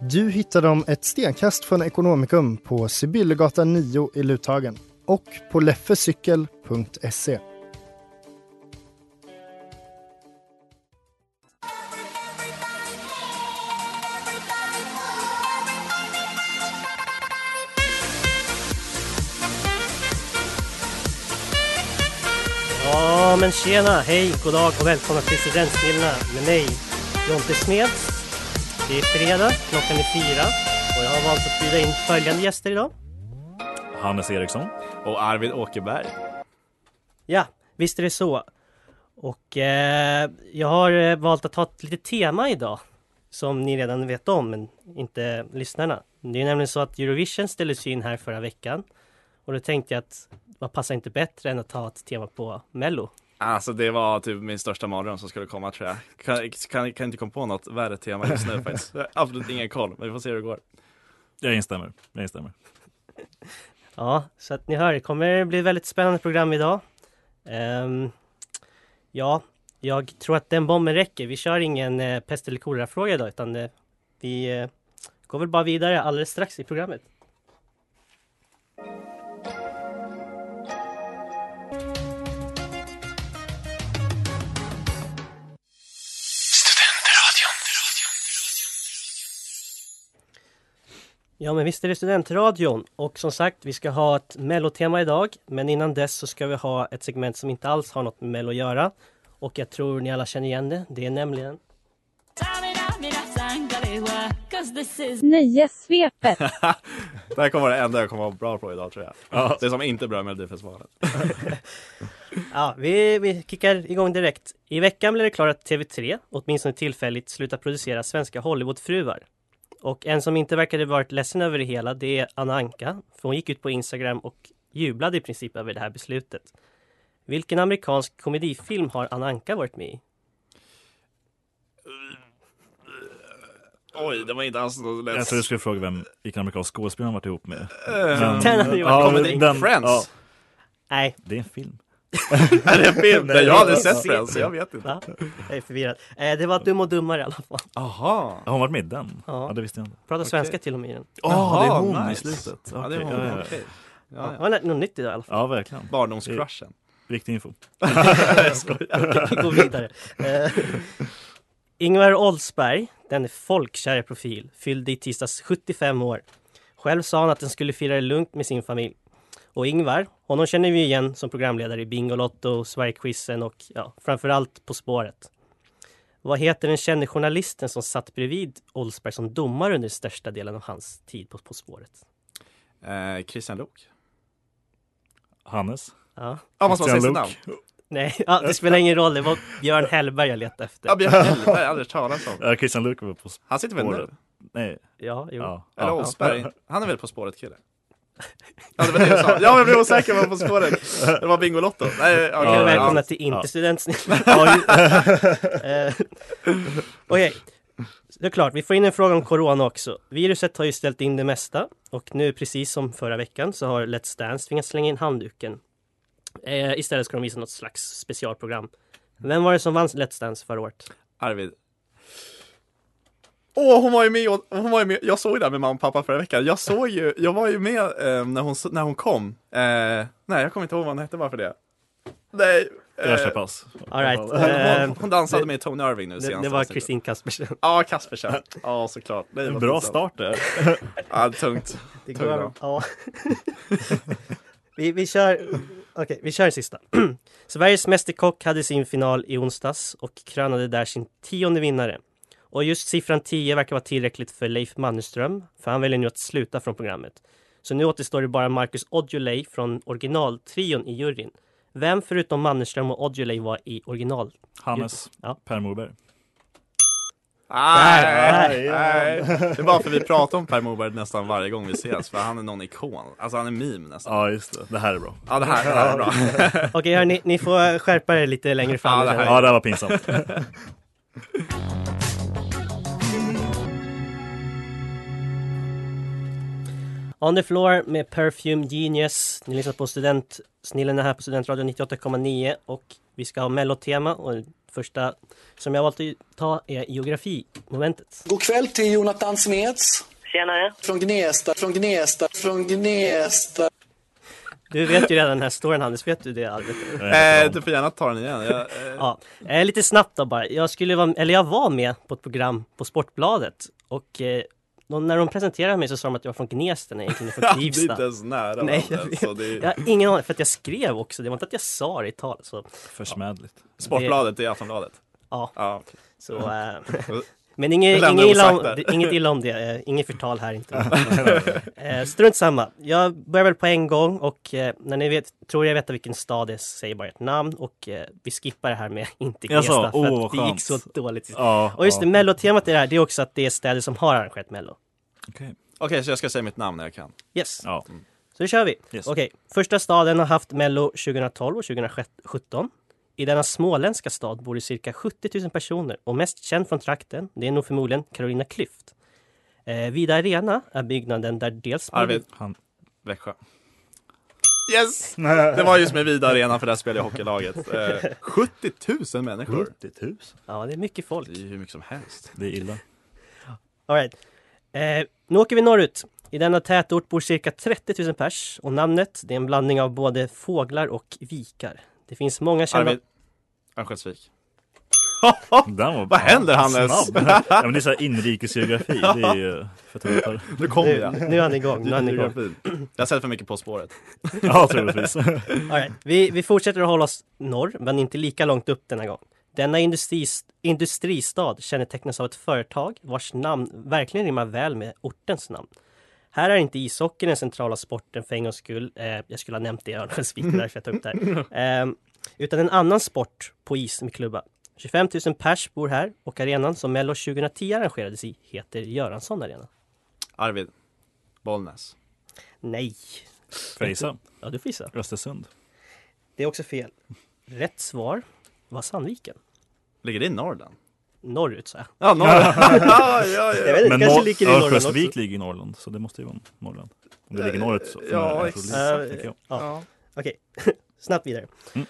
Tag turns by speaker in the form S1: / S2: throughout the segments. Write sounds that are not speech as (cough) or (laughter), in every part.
S1: Du hittar dem ett stenkast från Ekonomikum på Sibyllegatan 9 i Luthagen och på leffecykel.se.
S2: Ja, men tjena, hej, god dag och välkomna till Studentsnillena med mig, Jonte Smeds. Det är fredag, klockan är fyra och jag har valt att bjuda in följande gäster idag.
S3: Hannes Eriksson och Arvid Åkerberg.
S2: Ja, visst är det så. Och eh, jag har eh, valt att ha ett litet tema idag som ni redan vet om, men inte lyssnarna. Det är nämligen så att Eurovision ställdes ju in här förra veckan och då tänkte jag att vad passar inte bättre än att ha ett tema på Mello?
S3: Alltså det var typ min största mardröm som skulle komma tror jag. Kan, kan, kan inte komma på något värre tema just nu faktiskt. Jag har Absolut ingen koll, men vi får se hur det går.
S4: Jag instämmer. Jag instämmer.
S2: Ja, så att ni hör, det kommer bli ett väldigt spännande program idag. Ehm, ja, jag tror att den bomben räcker. Vi kör ingen eh, pest eller kolera-fråga idag, utan eh, vi eh, går väl bara vidare alldeles strax i programmet. Ja, men visst är det Studentradion och som sagt, vi ska ha ett mellotema idag. Men innan dess så ska vi ha ett segment som inte alls har något med mello att göra. Och jag tror ni alla känner igen det. Det är nämligen
S5: Nöjessvepet!
S3: Det här kommer vara det enda jag kommer vara bra på idag tror jag.
S4: Ja.
S3: Det som inte är bra med Melodifestivalen.
S2: Ja, vi, vi kickar igång direkt. I veckan blev det klart att TV3, åtminstone tillfälligt, slutar producera svenska Hollywoodfruar. Och en som inte verkade varit ledsen över det hela, det är Anna Anka. För hon gick ut på Instagram och jublade i princip över det här beslutet. Vilken amerikansk komedifilm har Anna Anka varit med i?
S3: Oj, det var inte alls något lätt.
S4: Jag trodde du skulle fråga vem, vilken amerikansk skådespelare han varit ihop med.
S3: Eh.
S2: Den hade ju varit
S4: Ja,
S3: Comedy
S4: men den-
S3: Friends.
S4: ja.
S2: Nej,
S4: Det är en film.
S3: (laughs) Är det en film? Nej, jag har aldrig sett
S2: Ja.
S3: Friends, så jag vet inte.
S2: va? Jag är förvirrad. Eh, det var Dum och Dummare i alla fall.
S3: Aha.
S4: Har hon varit med i den?
S2: Ja.
S4: Ja. det visste jag inte.
S2: Pratar svenska till och med i den.
S4: Jaha,
S3: Jaha, nice.
S4: i slutet.
S3: Ja, det är
S4: Okej,
S3: hon.
S4: ja, ja.
S3: Okej. Ja,
S2: Ja,
S3: ja.
S2: Något nytt idag i alla fall.
S4: Ja, verkligen.
S3: Barndomscrushen. (laughs)
S4: Riktig info. (laughs)
S2: Vi går vidare. Eh, Ingvar Oldsberg, den folkkär profil, fyllde i tisdags 75 år. Själv sa han att han skulle fira det lugnt med sin familj. Och Ingvar, honom känner vi igen som programledare i Bingolotto, Sverigequizen och ja, framförallt På spåret. Vad heter den kände journalisten som satt bredvid Oldsberg som domare under största delen av hans tid på På spåret?
S3: Eh, Christian Lok.
S4: Hannes.
S2: Ja.
S3: Ja, måste man säga sitt
S4: Christian
S3: namn?
S4: Luuk.
S2: Nej, (laughs) ja, det spelar ingen roll. Det var Björn Hellberg jag letade
S3: Ja,
S2: efter.
S4: (laughs)
S3: Björn Hellberg, har jag aldrig talat om.
S4: Ja, Christian Luuk var på spåret.
S3: Han sitter väl nu?
S4: Nej,
S2: Ja, jo.
S4: ja.
S3: Eller
S4: ja. (laughs)
S3: Oldsberg. Han är väl På spåret kille? Ja, det var det du sa. Ja, jag blev osäker på På spåret. Det var Bingolotto. Nej, okay,
S2: Ja,
S4: Ja,
S2: välkomna till Inte
S4: Ja. (laughs)
S2: studentsnillen. Ja, ju- Eh, Okej, det är klart, vi får in en fråga om corona också. Viruset har ju ställt in det mesta och nu precis som förra veckan så har Let's Dance tvingats slänga in handduken. Eh, istället ska de visa något slags specialprogram. Vem var det som vann Let's Dance förra året?
S3: Arvid. Åh, hon var ju med, och- hon var ju med, jag såg ju det här med mamma och pappa förra veckan. Jag såg ju, jag var ju med eh, när, hon, s- när hon kom. Eh, nej, jag kommer inte ihåg vad hon hette bara för det. Nej,
S4: Jag kör pass.
S2: All right.
S3: Hon,
S2: Eh,
S3: hon, hon dansade med Tony Irving nu
S2: det,
S3: senast.
S2: det var
S3: avsnittet.
S2: Kristin Kaspersen.
S3: Ja,
S2: (laughs)
S3: Kaspersen. Ja, såklart. Nej,
S4: En
S3: vad
S4: bra
S3: pinsamt.
S4: start där.
S3: Ja, det är tungt.
S2: Det
S3: Tung
S2: går,
S3: då.
S2: ja. (laughs) vi, vi kör, okej, vi kör den sista. (clears throat) Sveriges Mästerkock hade sin final i onsdags och krönade där sin tionde vinnare. Och just siffran 10 verkar vara tillräckligt för Leif Mannerström, för han väljer nu att sluta från programmet. Så nu återstår det bara Marcus Aujalay från originaltrion i juryn. Vem förutom Mannerström och Aujalay var i original?
S4: Hannes,
S2: Ja.
S4: Per Morberg.
S3: Nej,
S2: Där,
S3: nej, Det är bara för vi pratar om Per Morberg nästan varje gång vi ses, för han är någon ikon. Alltså han är meme nästan.
S4: Ja, just det. Det här är bra.
S3: Ja, det här, det här är
S2: (laughs)
S3: bra.
S2: Okej hörni, ni får skärpa er lite längre fram.
S3: Ja, det här-
S4: Ja, det här var pinsamt.
S2: On the floor med Perfume Genius. Ni lyssnar på Studentsnillen är här på Studentradion 98,9 och vi ska ha mellotema och det första som jag valt att ta är geografimomentet.
S6: God kväll till Jonathan Smeds. Tjenare. Från Gnesta, från Gnesta, från Gnesta.
S2: Du vet ju redan den här storyn Hannes, vet du det Albert?
S3: Eh, du får gärna ta den igen. Jag, eh,
S2: Ja, eh, lite snabbt då bara. Jag skulle vara, eller jag var med på ett program på Sportbladet och eh, de, när de presenterade mig så sa de att jag var från Gnesta när jag
S3: (laughs)
S2: egentligen är
S3: det
S2: från
S3: är inte
S2: Knivsta.
S3: ens nära.
S2: Nej, jag
S3: varandra,
S2: vet.
S3: så det är,
S2: Jag har ingen aning, för att jag skrev också, det var inte att jag sa det i tal. Så,
S4: Försmädligt.
S3: Sportbladet, det är Aftonbladet.
S2: ja,
S3: Ja.
S2: så eh,
S3: Vi
S2: Men inget,
S3: lämnar
S2: inget, illa om,
S3: osagt där.
S2: det- inget illa om det, eh, inget förtal här
S4: (laughs)
S2: inte. eh, strunt samma. Jag börjar väl på en gång och eh, när ni vet, tror jag vet vilken stad det är, säg bara ett namn och eh, vi skippar det här med (laughs) inte
S4: Jag sa,
S2: Gnesta för
S4: åh,
S2: att det gick
S4: skönt.
S2: så dåligt. sist.
S4: Ja,
S2: Och just det,
S4: ja.
S2: mellotemat i det här, det är också att det är städer som har arrangerat mello.
S4: Okej.
S3: Okej, så jag ska säga mitt namn när jag kan.
S2: Yes,
S4: Ja.
S2: så då kör vi.
S4: Yes.
S2: Okej, första staden har haft mello 2012 och 2017. I denna småländska stad bor det cirka 70 000 personer och mest känd från trakten, det är nog förmodligen Carolina Klüft. Eh, Vida Arena är byggnaden där dels...
S3: Arvid,
S4: Han,
S3: Växjö. Yes! Det var just med Vida Arena för där spelade jag hockeylaget. Eh, 70 000
S2: Mm.
S3: människor.
S4: 70 000?
S2: Ja, det är mycket folk.
S3: Det är ju hur mycket som helst.
S4: Det är illa.
S2: All right. eh, nu åker vi norrut. I denna tätort bor cirka 30 000 pers och namnet, det är en blandning av både fåglar och vikar. Det finns många kända...
S3: Arvid, Örnsköldsvik.
S4: Den var
S3: Vad händer, Hannes?
S4: Snabb. ja, men det är så här inrikesgeografi. Det är ju för töntar.
S3: Nu kommer jag.
S2: Nu, nu är han
S3: (laughs)
S2: igång, nu är han igång.
S3: Geografin. Jag har sett för mycket På spåret.
S4: Ja, troligtvis.
S2: All right. vi, vi fortsätter att hålla oss norr, men inte lika långt upp denna gång. Denna industris, industristad kännetecknas av ett företag vars namn verkligen rimmar väl med ortens namn. Här är inte ishockeyn den centrala sporten för en gångs skull. Eh, jag skulle ha nämnt det i Örnsköldsvik, därför jag tog upp det (laughs) här. Eh, utan en annan sport på is med klubba. 25 000 pers bor här och arenan som Mello 2010 arrangerades i heter Göransson Arena.
S3: Arvid, Bollnäs.
S2: Nej,
S4: Fejsa.
S2: ja du får gissa.
S4: Östersund.
S2: Det är också fel. Rätt svar var Sandviken.
S3: Ligger det i Norrland?
S2: Norrut sa jag.
S3: Ja, Norrland.
S2: (laughs)
S3: ja, ja,
S2: Jag
S3: ja.
S2: vet inte,
S4: Men
S2: kanske
S4: Nor-
S2: ligger i Norrland också.
S4: Örnsköldsvik ligger i Norrland, så det måste ju vara Norrland. Om det ligger norrut så.
S3: Ja,
S4: jag tror
S3: exakt.
S4: det är så, tänker jag.
S2: Ja. Okej, (laughs) snabbt vidare.
S4: Mm.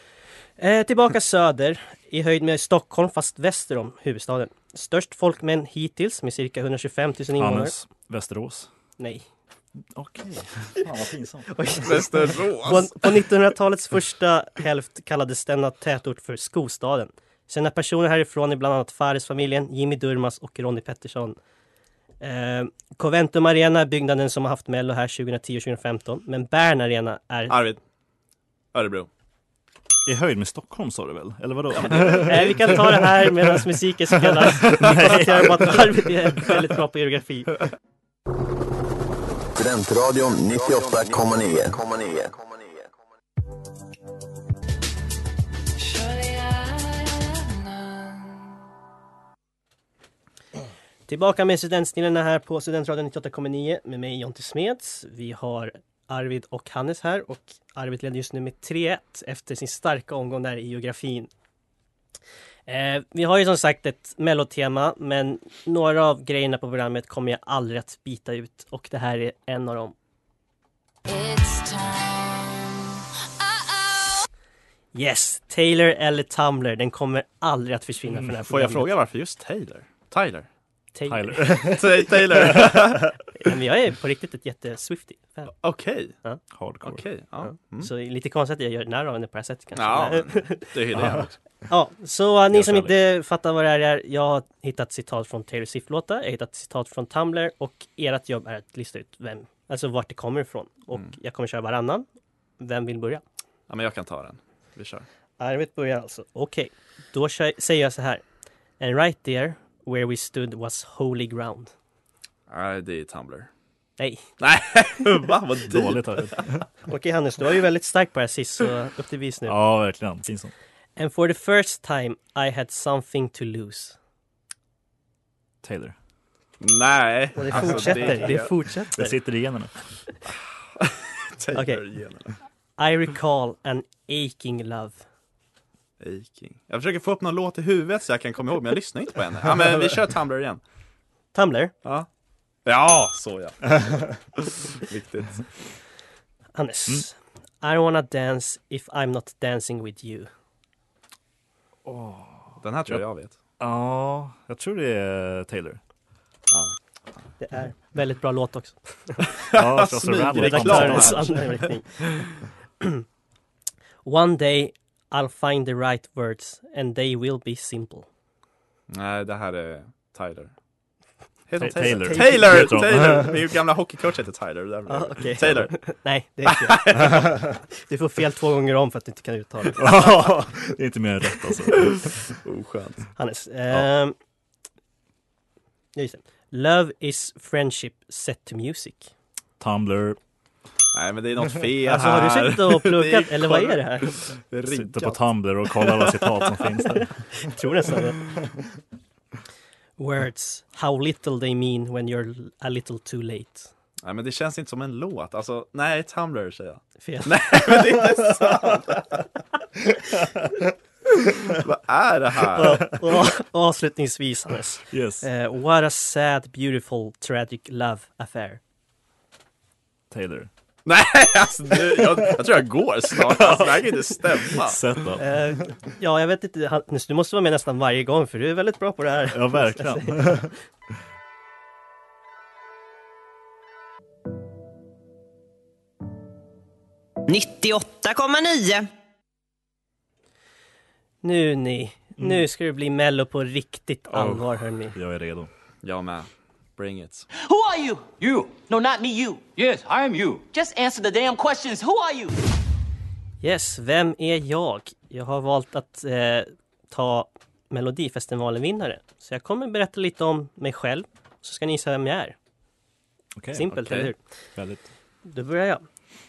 S2: Eh, tillbaka söder, i höjd med Stockholm fast väster om huvudstaden. Störst folkmängd hittills med cirka 125 000 invånare.
S4: Hannes, Västerås.
S2: Nej.
S4: Okej, fan vad pinsamt.
S2: På,
S3: Västerås.
S2: på 1900-talets första hälft kallades denna tätort för Skostaden. Kända personer härifrån är bland annat Fares-familjen, Jimmy Durmaz och Ronnie Pettersson. Eh, Coventum Arena är byggnaden som har haft Mello här 2010-2015, men Bern Arena är...
S3: Arvid, Örebro.
S4: I höjd med Stockholm sa du väl? Eller vadå?
S2: (laughs) Eh, vi kan ta det här medan musiken spelas. Vi konstaterar bara att Arvid är väldigt bra på geografi.
S7: Studentradion 98,9.
S2: Tillbaka med studentsnillena här på Studentradion 98,9 med mig Jonte Smeds. Vi har Arvid och Hannes här och Arvid leder just nu med 3-1 efter sin starka omgång där i geografin. Eh, vi har ju som sagt ett mellotema men några av grejerna på programmet kommer jag aldrig att bita ut och det här är en av dem. Yes, Taylor eller Tumblr, den kommer aldrig att försvinna från det här
S3: Mm, Får jag
S2: programmet.
S3: fråga varför just Taylor? Tyler?
S2: Taylor.
S4: Tyler.
S3: Ta- Taylor.
S2: Men jag är på riktigt ett jätte-Swiftie-fan.
S3: (laughs) Okej,
S2: Ja.
S4: Hardcore.
S3: okej. ja. Mm.
S2: Så det är lite konstigt att jag gör narr av henne på det här sättet kanske.
S3: Ja,
S2: Men-
S3: men det hyllar jag också.
S2: (laughs) Ja, så eh, ni
S3: Helt
S2: som
S3: ärligt.
S2: inte fattar vad det här är. Jag har hittat citat från Taylor Swift-låtar, jag har hittat citat från Tumblr och ert jobb är att lista ut vem, alltså vart det kommer ifrån. Och
S3: Mm.
S2: jag kommer köra varannan. Vem vill börja?
S3: Ja, men jag kan ta den. Vi kör.
S2: Arvet börjar alltså. Okej, då kör, säger jag så här. And right there, where we stood was holy ground.
S3: Nej, det är Tumblr.
S2: Nej.
S3: Nej, (laughs) va? Vad dåligt.
S4: Dåligt har jag.
S2: Okej Hannes, du var ju väldigt stark på det här sist, så upp till vis nu.
S4: Ja, verkligen. Fin sån.
S2: And for the first time I had something to lose.
S4: Taylor.
S3: Nej.
S2: Och det
S3: Alltså,
S2: fortsätter, det,
S3: är-
S4: Det
S2: fortsätter.
S4: sitter i generna.
S3: Taylor
S2: Okej.
S3: Jenner.
S2: I recall an aching love.
S3: Aching. Jag försöker få upp någon låt i huvudet så jag kan komma ihåg, men jag lyssnar inte på henne. Ja, men vi kör Tumblr igen.
S2: Tumblr,
S3: Ja. Ja, så (laughs) ja. Viktigt.
S2: Hannes. I wanna dance if I'm not dancing with you.
S3: Den här tror jag jag vet.
S4: Ja, jag tror det är Taylor.
S2: (laughs) Det är väldigt bra låt också.
S4: Ja, så- så
S3: Smyger
S4: random.
S3: reklam här.
S2: Redaktörens anmärkning. (clears throat) One day I'll find the right words and they will be simple.
S3: Nej, det här är Tyler. Heter han
S4: Ta-
S3: Taylor?
S4: Taylor.
S3: Taylor!
S4: Heter hon.
S3: Taylor! Min gamla hockeycoach heter Tyler. det Där blev
S2: Ja,
S3: det.
S2: okej.
S3: Taylor.
S2: (laughs) Nej, det är fel. Du får fel två gånger om för att du inte kan uttala det.
S4: Ja, det är inte mer än rätt alltså.
S3: Oskönt.
S2: Hannes. ehm, ja, just det. Love is friendship set to music.
S4: Tumblr,
S3: Nej, men det är
S2: (laughs)
S3: något fel
S2: Alltså
S3: här.
S2: har du suttit och pluggat
S3: (laughs) Det är
S2: eller vad
S3: kor-
S2: är det här? (laughs)
S3: det är riggat.
S4: sitter på Tumblr och kollar alla citat som finns där.
S2: Jag tror nästan det. Words, how little they mean when you're a little too late.
S3: Nej, men det känns inte som en låt. Alltså, nej, Tumblr säger jag. (laughs)
S2: Fel.
S3: Nej, men det är inte sant! vad är det här?
S2: (laughs) Och- och- och Avslutningsvis Hannes.
S4: Yes,
S2: Eh, what a sad, beautiful, tragic love affair.
S4: Taylor.
S3: Nej, (laughs) alltså, du, jag, jag tror jag går snart. Alltså, det här kan inte
S2: (laughs)
S3: stämma.
S4: Sätt då.
S2: Eh, ja, jag vet inte, Hannes, du måste vara med nästan varje gång för du är väldigt bra på det här.
S4: Ja, verkligen.
S2: Nu ni, nu ska det bli mello på riktigt allvar hörni.
S4: Jag är redo.
S3: Jag med. Bring it.
S8: Who are you? You. No, not me, you. Yes, I am you. Just answer the damn questions. Who are you?
S2: Yes, vem är jag? Jag har valt att eh, ta Melodifestivalen-vinnare. Så jag kommer berätta lite om mig själv, så ska ni gissa vem jag är.
S4: Okej,
S2: Simpelt,
S3: okej.
S2: eller hur?
S4: väldigt.
S2: Då börjar jag.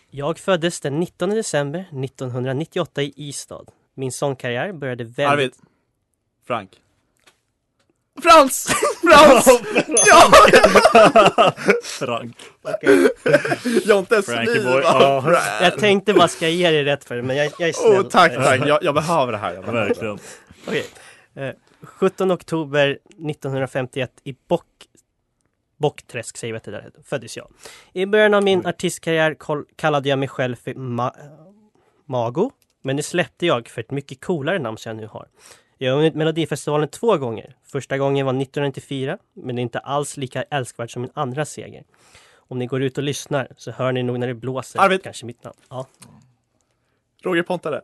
S2: Jag föddes den 19 december 1998 i Ystad. Min sångkarriär började väldigt...
S3: Arvid. Frank. Frans! Frans!
S4: Frank.
S3: Jontes
S4: Frankie
S3: liv!
S4: boy.
S3: va? (laughs)
S4: Ja,
S2: Jag tänkte bara ska jag ge dig rätt för det, men jag, jag är snäll.
S3: Oh, tack, tack. Jag, jag behöver det här. Jag behöver det.
S4: verkligen.
S2: Okej. Eh, 17 oktober 1951 i Bock... Bockträsk säger vi att det där heter. föddes jag. I början av min artistkarriär kol- kallade jag mig själv för Ma- Mago. Men det släppte jag för ett mycket coolare namn som jag nu har. Jag har vunnit Melodifestivalen två gånger. Första gången var 1994, men det är inte alls lika älskvärt som min andra seger. Om ni går ut och lyssnar så hör ni nog när det blåser
S3: Arvid!
S2: kanske mitt namn. Ja.
S3: Roger Pontare.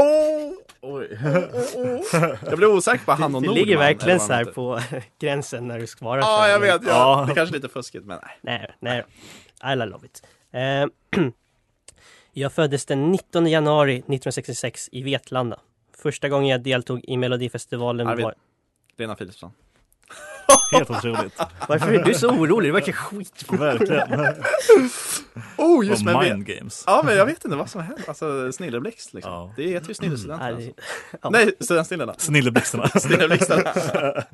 S3: Oh! Oj.
S4: (laughs)
S3: Jag blev osäker på han och
S2: Du
S3: Nordman.
S2: ligger
S3: eller
S2: verkligen
S3: vad
S2: så
S3: han
S2: här
S3: heter.
S2: på (laughs) gränsen när du svarar. så
S3: Ja,
S2: här,
S3: jag
S2: men-
S3: vet. Ja.
S4: Ja.
S3: Det är kanske är lite fuskigt, men nej.
S2: Nej, nej. I love it. Eh, (clears throat) jag föddes den 19 januari 1966 i Vetlanda. Första gången jag deltog i Melodifestivalen
S3: Arvid.
S2: var...
S3: Lena Philipsson.
S4: Helt otroligt.
S2: Varför är du så orolig? Det verkar skit.
S4: Verkligen.
S3: Oh, (laughs) just men
S4: Och
S3: jag vet.
S4: mind games.
S3: Ja, men jag vet inte vad som händer. Alltså, snilleblixt liksom.
S4: Ja.
S3: Det heter ju snillestudenten.
S2: Arvid.
S3: Alltså. Nej, studentstillena.
S4: Snilleblixtarna.
S3: (laughs) Snilleblixtarna.
S4: (laughs)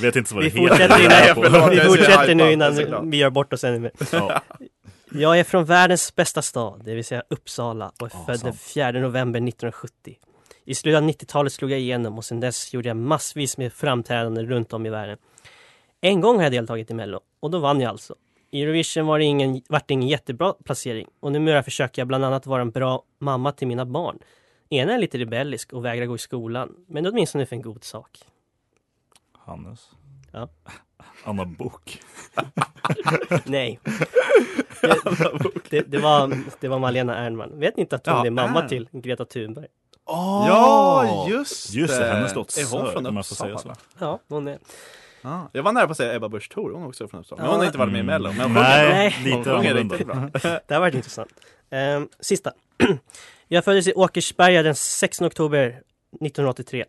S4: Vet inte vad
S2: Vi
S4: det heter.
S2: fortsätter,
S3: Nej,
S2: innan,
S4: (laughs)
S3: förlåt,
S2: vi
S3: jag är så
S2: fortsätter nu
S3: hypad,
S2: innan
S3: såklart.
S2: vi gör bort oss ännu mer.
S4: Ja,
S2: Jag är från världens bästa stad, det vill säga Uppsala och är
S4: Ja,
S2: född den
S4: sant.
S2: 4 november 1970. I slutet av 90-talet slog jag igenom och sedan dess gjorde jag massvis med framträdanden runt om i världen. En gång har jag deltagit i Mello och då vann jag alltså. I Eurovision var det ingen, vart det ingen jättebra placering och numera försöker jag bland annat vara en bra mamma till mina barn. Ena är lite rebellisk och vägrar gå i skolan, men det
S4: (laughs)
S2: är åtminstone för en god sak.
S4: Hannes.
S2: Ja.
S4: (laughs) Anna Bok.
S2: Nej. Det, det, det, var, det var Malena Ernman. Vet ni inte att hon
S3: Ja,
S2: är mamma
S3: Ern.
S2: till Greta Thunberg?
S3: Åh, Ja, just
S4: Just det,
S3: det.
S4: hennes dotter.
S3: Är hon från
S4: om man får säga
S3: Uppsala?
S4: så.
S2: Ja, hon är...
S3: Ah, jag var nära på att säga Ebba Busch Thor, hon är också från Uppsala. Men hon har inte varit med i
S4: Mm.
S3: Mello. Men hon
S4: Nej,
S3: sjunger bra. Hon
S4: lite
S3: sjunger
S4: annorlunda.
S3: riktigt
S4: (laughs)
S3: bra.
S2: Det har varit intressant. Ehm, sista. (clears throat) Jag föddes i Åkersberga den 16 oktober 1983.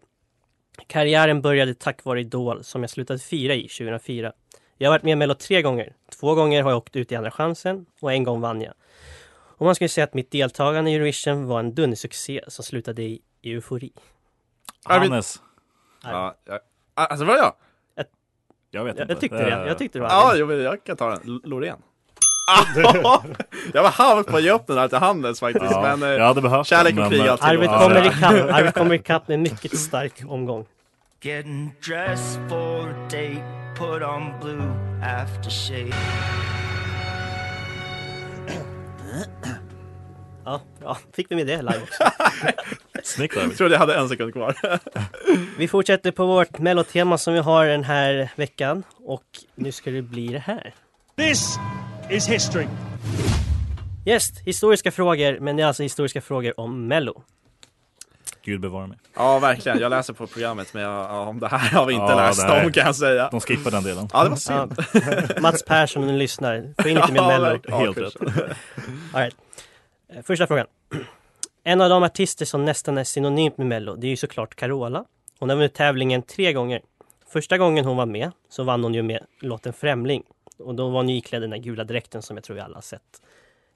S2: Karriären började tack vare Idol som jag slutade fira i 2004. Jag har varit med i Mello tre gånger. Två gånger har jag åkt ut i Andra chansen och en gång vann jag. Och man skulle säga att mitt deltagande i Eurovision var en dundersuccé som slutade i eufori.
S4: Hannes.
S3: Ja, ja. Ah, Alltså var det jag?
S4: Jag vet
S2: Jag,
S4: inte.
S2: jag tyckte det. Jag tyckte det var...
S3: Ja, jo, men jag kan ta den. L-
S4: (laughs)
S3: Loreen. (laughs) Ah, jag var halvt på att ge upp den här till Hannes faktiskt.
S4: Ja,
S3: men eh,
S4: jag hade behövt
S3: kärlek
S4: den,
S3: och
S4: men- eh,
S3: krig alltid.
S2: Arvid kommer ikapp,
S3: (laughs)
S2: Arvid kommer ikapp med en mycket stark omgång.
S9: Getting dressed for a date, put on blue aftershave.
S2: Ja, bra. Fick vi med det live också.
S4: Snyggt
S3: Jag trodde jag hade en sekund kvar.
S2: Vi fortsätter på vårt mellotema som vi har den här veckan och nu ska det bli det här.
S10: This is history.
S2: Yes, historiska frågor, men det är alltså historiska frågor om mello.
S4: Gud bevara mig.
S3: ja, verkligen. Jag läser på programmet, men jag, ja, om det här har vi inte
S4: Ja,
S3: läst
S4: det här-
S3: om kan jag säga.
S4: De skippar den delen.
S3: Ja, det var synd.
S2: Ja. Mats Persson, om du lyssnar, få in lite
S3: (laughs)
S2: mer
S3: Ja,
S2: mello.
S3: verkligen. Helt rätt.
S2: All right. Eh, Första frågan. En av de artister som nästan är synonymt med mello, det är ju såklart Carola. Hon har vunnit tävlingen tre gånger. Första gången hon var med så vann hon ju med låten Främling. Och då var hon ju iklädd den där gula dräkten som jag tror vi alla har sett.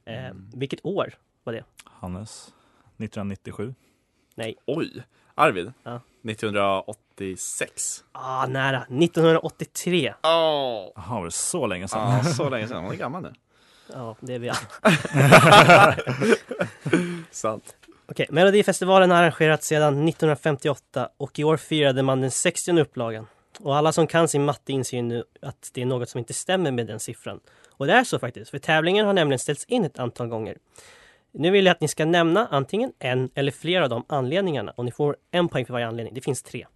S2: Eh, vilket år var det?
S4: Hannes. 1997.
S2: Nej.
S3: Oj, Arvid.
S2: Ja.
S3: 1986.
S2: Ah, nära. 1983.
S3: Åh!
S4: Jaha, var det så länge sedan?
S3: Ja, så länge sedan. Hon är gammal nu.
S2: Ja, det är vi alla.
S3: Sant.
S2: Okej, Melodifestivalen har arrangerats sedan 1958 och i år firade man den 60 upplagan. Och alla som kan sin matte inser ju nu att det är något som inte stämmer med den siffran. Och det är så faktiskt, för tävlingen har nämligen ställts in ett antal gånger. Nu vill jag att ni ska nämna antingen en eller flera av de anledningarna och ni får en poäng för varje anledning. Det finns tre.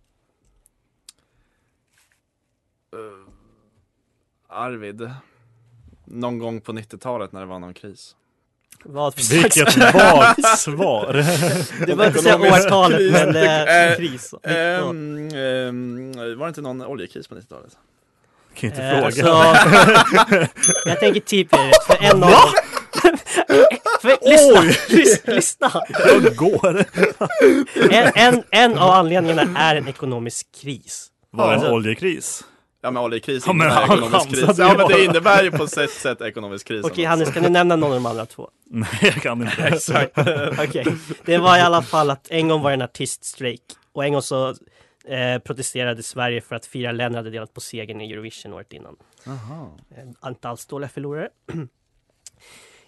S3: Eh, Arvid. Någon gång på 90-talet när det var någon kris.
S2: Vad (laughs) för slags-
S4: (laughs) Vilket vagt svar! (laughs)
S2: Du behöver inte säga
S3: Ekonomisk
S2: årtalet,
S3: kris.
S2: men eh,
S3: Eh,
S2: kris.
S3: ehm, ehm, var det inte någon oljekris på 90-talet?
S4: Kan ju inte
S2: Eh,
S4: fråga.
S2: alltså, jag tänker typ är rätt, för en av (laughs) dem. för, lyssna, lys- lyssna!
S4: Jag går!
S2: En, en, en av anledningarna är en ekonomisk kris.
S4: Var det en
S2: Alltså,
S4: oljekris? (laughs)
S3: Ja men oljekris
S4: Ja, men
S3: innebär
S4: han
S3: ekonomisk
S4: chansade
S3: kris.
S4: ju
S3: Ja men
S4: bara.
S3: det innebär ju på sätt sätt ekonomisk kris.
S2: Okej Hannes, kan du nämna någon av de andra två?
S4: Nej, jag
S2: (laughs)
S4: kan inte.
S2: Sorry. Okej. Det var i alla fall att en gång var det en artiststrejk och en gång så eh, protesterade Sverige för att fyra länder hade delat på segern i Eurovision året innan.
S3: Aha.
S2: Eh, Inte alls dåliga förlorare.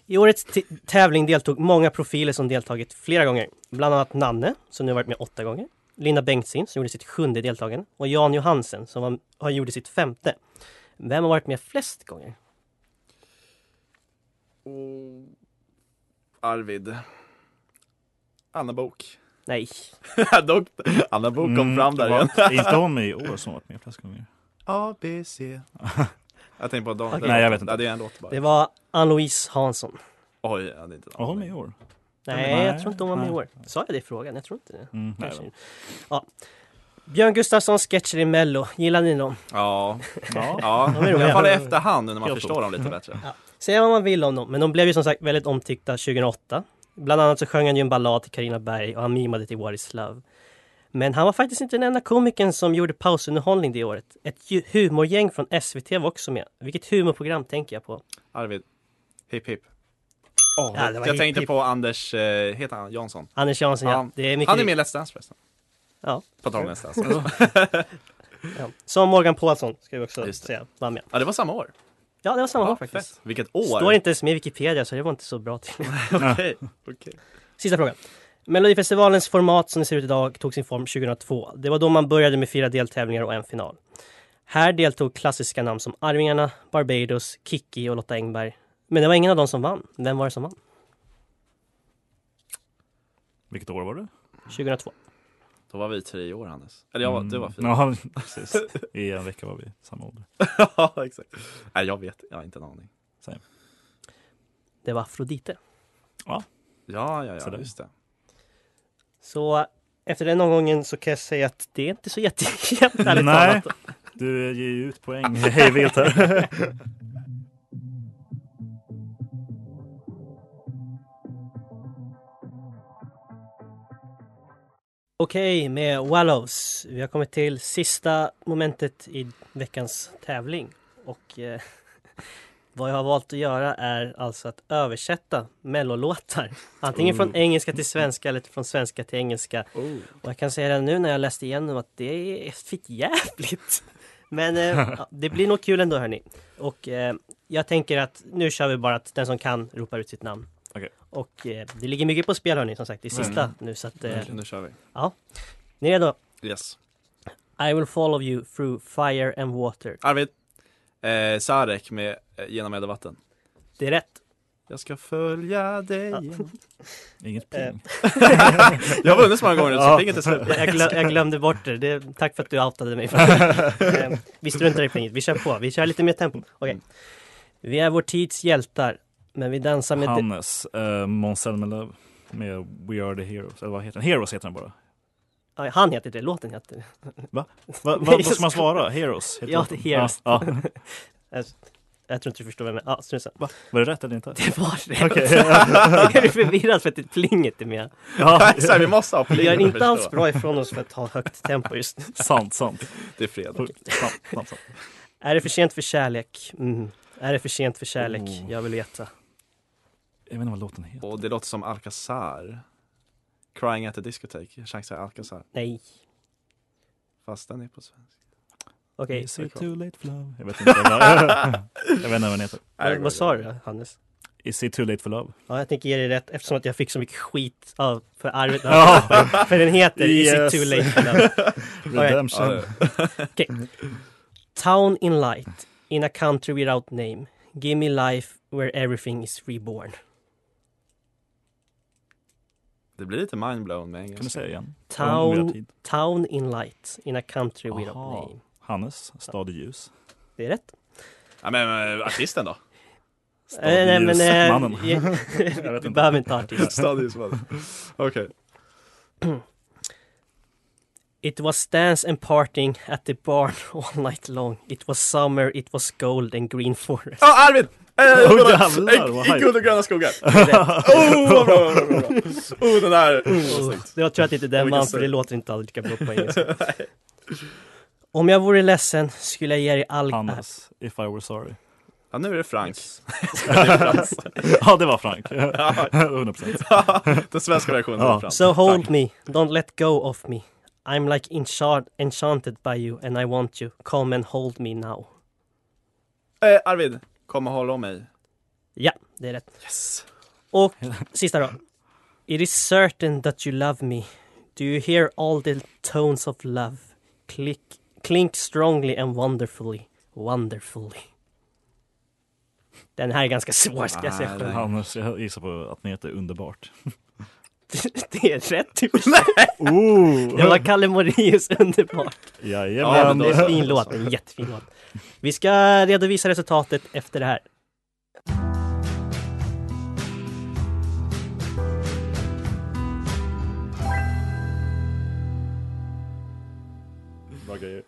S2: I årets t- tävling deltog många profiler som deltagit flera gånger. Bland annat Nanne, som nu har varit med åtta gånger. Linda Bengtzing, som gjorde sitt sjunde deltagande. Och Jan Johansen, som var, har gjorde sitt femte. Vem har varit med flest gånger?
S3: Arvid. Anna (laughs) Bok.
S2: Nej.
S3: Dock, Anna Bok kom fram där igen.
S4: Mm, Var inte hon med i år som varit med flest gånger?
S3: (laughs) A, B, C.
S4: (laughs)
S3: Jag tänkte på Dan.
S2: Okej.
S3: den
S4: Nej,
S3: låten.
S4: jag vet inte.
S3: Ja, det är en låt bara.
S2: Det var Ann-Louise Hansson.
S3: Oj, jag hade inte en
S4: Var hon
S3: aning.
S4: med i år?
S2: Nej,
S4: Nej,
S2: jag tror inte hon var med i
S4: nej.
S2: år. Sa jag det i frågan? Jag tror inte det.
S4: Mm, nej,
S2: Kanske. Ja. Björn Gustafssons sketcher i Mello, gillar ni dem?
S3: Ja.
S4: Ja.
S3: ja.
S2: är
S3: I
S2: roliga.
S3: alla fall i efterhand nu när man
S4: Jag
S3: förstår dem lite
S2: Mm.
S3: bättre.
S2: Säga vad man vill om dem, men de blev ju som sagt väldigt omtyckta 2008. Bland annat så sjöng han ju en ballad till Carina Berg och han mimade till What is love. Men han var faktiskt inte den enda komikern som gjorde pausunderhållning det året. Ett ju- humorgäng från SVT var också med. Vilket humorprogram tänker jag på?
S3: Arvid. Hipp hipp. Åh,
S2: Ja, det var
S3: jag
S2: hipp,
S3: tänkte
S2: hipp.
S3: på Anders, eh, heter han Jansson?
S2: Anders Jansson, ja.
S3: Han,
S2: Det är mycket
S3: han är med i Let's Dance förresten.
S2: Ja.
S3: På tal om Let's Dance.
S2: ja. Som Morgan Paulsson, ska vi också
S3: Just det.
S2: säga, var med.
S3: ja, det var samma år.
S2: Ja, det var samma
S3: Ja,
S2: år faktiskt.
S3: fett. Vilket år!
S2: Står inte ens med i Wikipedia, så det var inte så bra till.
S3: (laughs) Okej, okej.
S2: Sista frågan. Melodifestivalens format som det ser ut idag tog sin form 2002. Det var då man började med fyra deltävlingar och en final. Här deltog klassiska namn som Arvingarna, Barbados, Kikki och Lotta Engberg. Men det var ingen av dem som vann. Vem var det som vann?
S4: Vilket år var det?
S2: 2002.
S3: Då var vi tre år Hannes. Eller jag var, du var fyra.
S4: Mm. Ja, (laughs) precis. I en vecka var vi samma ålder.
S3: (laughs) ja, exakt. Nej, jag vet. Jag har inte en aning.
S2: Det var Afrodite.
S4: Ja.
S3: Ja, ja,
S2: Sådär.
S3: ja just det.
S2: Så efter den omgången så kan jag säga att det är inte så jätte- (laughs) jämnt ärligt
S4: Nej,
S2: talat.
S4: du ger ju ut poäng (laughs) hej
S2: (laughs)
S4: vilt här.
S2: Okej, med Wallows. Vi har kommit till sista momentet i veckans tävling. Och eh, (laughs) vad jag har valt att göra är alltså att översätta mellolåtar. Antingen från
S11: Ooh.
S3: Mm.
S2: engelska till svenska eller från svenska till engelska.
S3: Oh.
S2: Och jag kan säga det nu när jag läste igenom att det är fitt jävligt. (laughs) Men eh,
S3: (laughs)
S2: ja, det blir nog kul ändå hörni. Och eh, jag tänker att nu kör vi bara att den som kan ropar ut sitt namn. Och eh, det ligger mycket på spel hörni som sagt. Det är sista
S3: Mm.
S2: nu så att...
S3: Verkligen, nu kör vi.
S2: Ja. Ni är redo?
S3: Yes.
S2: I will follow you through fire and water.
S3: Arvid. Eh, Sarek med eh, Genom eld och vatten.
S2: Det är rätt.
S3: Jag ska följa dig.
S4: Inget
S2: ping.
S3: (laughs) Jag var under så många gånger, så pinget är slut. (laughs)
S2: Jag, glö- jag glömde bort det. det. Tack för att du outade
S4: (laughs)
S2: mig. Eh, vi struntar i pinget. Vi kör på. Vi kör lite mer tempo. Okej. Vi är vår tids hjältar, men vi dansar med...
S4: Hannes, eh, Måns Zelmerlöw med We Are The Heroes, eller vad heter den? Heroes heter den bara.
S2: Ja, Han heter det, låten heter det.
S4: Va? Va- va- vad ska man svara? Heroes heter
S2: ja, det
S4: låten.
S2: är Heroes.
S4: Ja,
S2: (laughs) jag, jag tror inte du förstår vem jag är. Ja, strunt samma.
S4: Var det rätt eller inte?
S2: (laughs) Det var rätt.
S4: Okej.
S2: jag är förvirrad för att det är plinget är med.
S4: Ja, exakt, vi måste ha
S2: Vi
S4: plinget
S2: gör
S4: för att
S2: inte alls
S4: förstå.
S2: bra ifrån oss för att ha högt tempo just nu. (laughs)
S4: Sant, sant.
S3: Det är fredag.
S4: Sant, sant, sant.
S2: Är det för sent för kärlek? Mm. Är det för sent för kärlek?
S4: Oh.
S2: Jag vill veta.
S4: Jag vet inte vad låten heter.
S3: Och det låter som Alcazar. Crying at the discotheque. Jag chansar Alcazar.
S2: Nej.
S3: Fast den är på svenska.
S2: Okej.
S4: Is it too late for love? (laughs) Jag vet inte vad
S2: (laughs)
S4: jag vet inte vad den heter.
S2: Vad, vad sa du Hannes?
S4: Is it too late for love?
S2: Ja, jag tänker ge dig rätt eftersom att jag fick så mycket skit av för arvet.
S4: (laughs) Ja.
S2: (laughs) för, för den heter
S4: Yes.
S2: Is it too late? for love? Okej.
S4: (laughs) Redemption.
S2: Okej. Town in light, in a country without name. Give me life where everything is reborn.
S3: Det blir lite mindblown med engelska.
S4: Kan du säga igen?
S2: Town, town in light, in a country without
S4: Aha.
S2: name.
S4: Hannes, Stad i ljus.
S2: Det är rätt.
S3: Ja, men eh, (laughs) artisten då?
S2: Eh, nej, men, eh, (laughs)
S4: Stadljusmannen.
S2: ja,
S4: Jag vet
S2: vi
S4: inte.
S2: behöver inte ha artist.
S3: Stadljusmannen. Okej.
S2: It was dance and partying at the barn (laughs) all night long. It was summer, it was gold and green forest.
S3: Ja, Arvid! Eh,
S2: Åh,
S3: vadå?
S2: jävlar,
S3: I-
S2: vad
S3: I
S2: hype.
S3: guld och gröna skogar.
S2: Rätt.
S3: oh, vad bra, vad bra, vad bra. Oh, den där. Mm, vad
S2: Oh,
S3: snyggt.
S2: det var tur att det inte är den
S3: Vilken
S2: man, för det
S3: stöt.
S2: låter inte alls lika bra (laughs) på engelska.
S3: (laughs)
S2: Om jag vore ledsen skulle jag ge dig all...
S4: Hannes, If I were sorry.
S3: Ja, nu är det
S4: (laughs)
S3: Franks. (laughs)
S4: ja, det var Frank.
S3: Ja.
S4: 100%.
S3: Den svenska versionen
S4: Ja.
S3: är Frank.
S2: So hold me, don't let go of me. I'm like enchant enchanted by you and I want you. Come and hold me now.
S3: Eh, Arvid, kom och håll om mig.
S2: Ja, det är rätt. Och sista då. It is certain that you love me. Do you hear all the tones of love? Click, clink strongly and wonderfully. Wonderfully. Den här är ganska svår ska jag säga själv.
S4: Hannes, jag gissar på att ni heter Underbart.
S2: (laughs) Det är rätt i och för sig.
S4: Oh.
S2: Det var Kalle Moraeus underbart.
S4: Jajamän.
S2: Ja, men det är en fin låt, en jättefin låt. Vi ska redovisa resultatet efter det här.
S4: Bra grejer.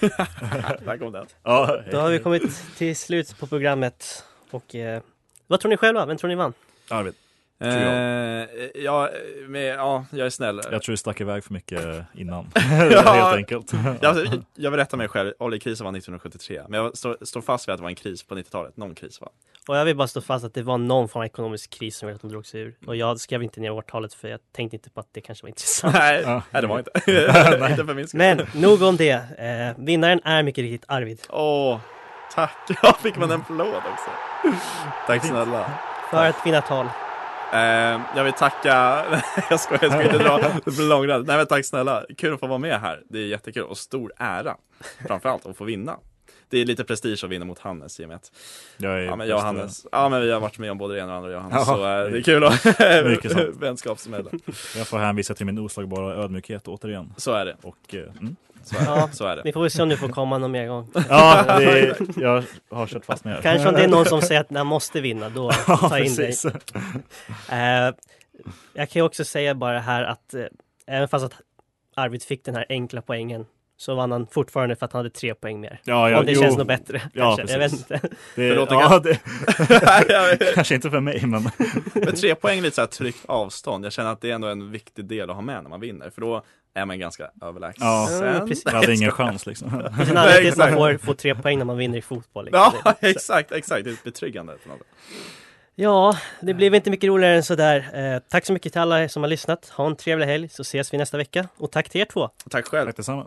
S3: (laughs) Där kom den.
S4: (laughs) Ja,
S2: Då har vi kommit till slut på programmet. Och eh, vad tror ni själva? Vem tror ni vann?
S4: Arvid.
S3: Eh,
S4: Tror jag.
S3: ja, men, ja, jag är snäll.
S4: Jag tror du stack iväg för mycket
S2: (laughs)
S4: innan.
S3: Ja.
S4: Helt enkelt.
S3: jag, jag vill rätta mig själv. Oljekrisen var 1973. Men jag står, står fast vid att det var en kris på 90-talet. Någon kris va?
S2: Och jag vill bara stå fast att det var någon form av ekonomisk kris som gjorde att de drog sig ur. Och jag skrev inte ner årtalet för jag tänkte inte på att det kanske var intressant.
S4: (laughs)
S3: Nej, Ja. nej, det var inte. (laughs) Inte för min skull.
S2: Men nog om det. Eh, vinnaren är mycket riktigt Arvid.
S3: Åh, tack. (laughs) Ja, fick man en applåd också? Tack snälla.
S2: För att vinna tal.
S3: Eh, jag vill tacka, (laughs) jag skojar, jag ska inte dra, det blir långrandigt. Nej men tack snälla, kul att få vara med här. Det är jättekul och stor ära framförallt att få vinna. det är lite prestige att vinna mot Hannes i och med att
S4: Jag är
S3: ja, men jag och
S4: bäst i
S3: Hannes, ja men vi har varit med om både det ena och det andra jag och Hannes,
S4: Jaha.
S3: så eh, det är kul att (laughs)
S4: Mycket sant.
S3: vänskapsmälla.
S4: eh, Jag får hänvisa till min oslagbara ödmjukhet återigen.
S3: Så är det.
S4: Och, eh,
S2: (laughs)
S4: mm.
S3: Så är det.
S2: Ja,
S3: Så är det.
S2: Vi får väl se om du får komma någon mer gång.
S4: Ja, det är- jag har kört fast med det.
S2: Kanske om det är någon som säger att den måste vinna,
S4: (laughs)
S2: då
S4: Ja,
S2: ta in dig.
S4: precis.
S2: Eh, jag kan ju också säga bara här att eh, även fast att Arvid fick den här enkla poängen så vann han fortfarande för att han hade tre poäng mer.
S4: Ja, ja,
S2: om det
S4: jo.
S2: känns något bättre.
S4: Ja,
S2: kanske. Jag vet
S4: precis.
S2: inte. (laughs)
S4: Det,
S3: Förlåt,
S4: ja,
S3: jag-
S4: det,
S3: Jag vet.
S4: (laughs) kanske inte för mig, men
S3: Men tre poäng är lite så här tryggt avstånd. Jag känner att det är ändå en viktig del att ha med när man vinner. För då är man ganska överlägsen.
S4: Ja, jag hade ingen chans liksom.
S2: Mm, Det är en
S4: (laughs)
S2: anledning till att man
S3: exakt.
S2: får, får tre poäng när man vinner i fotboll. Liksom.
S3: Ja, (laughs)
S2: Det-
S3: exakt, exakt. Det är betryggande. på något sätt.
S2: ja, det blev inte mycket roligare än sådär. Eh, tack så mycket till alla som har lyssnat. Ha en trevlig helg så ses vi nästa vecka. Och tack till er två.
S3: Tack själv.
S4: Tack detsamma.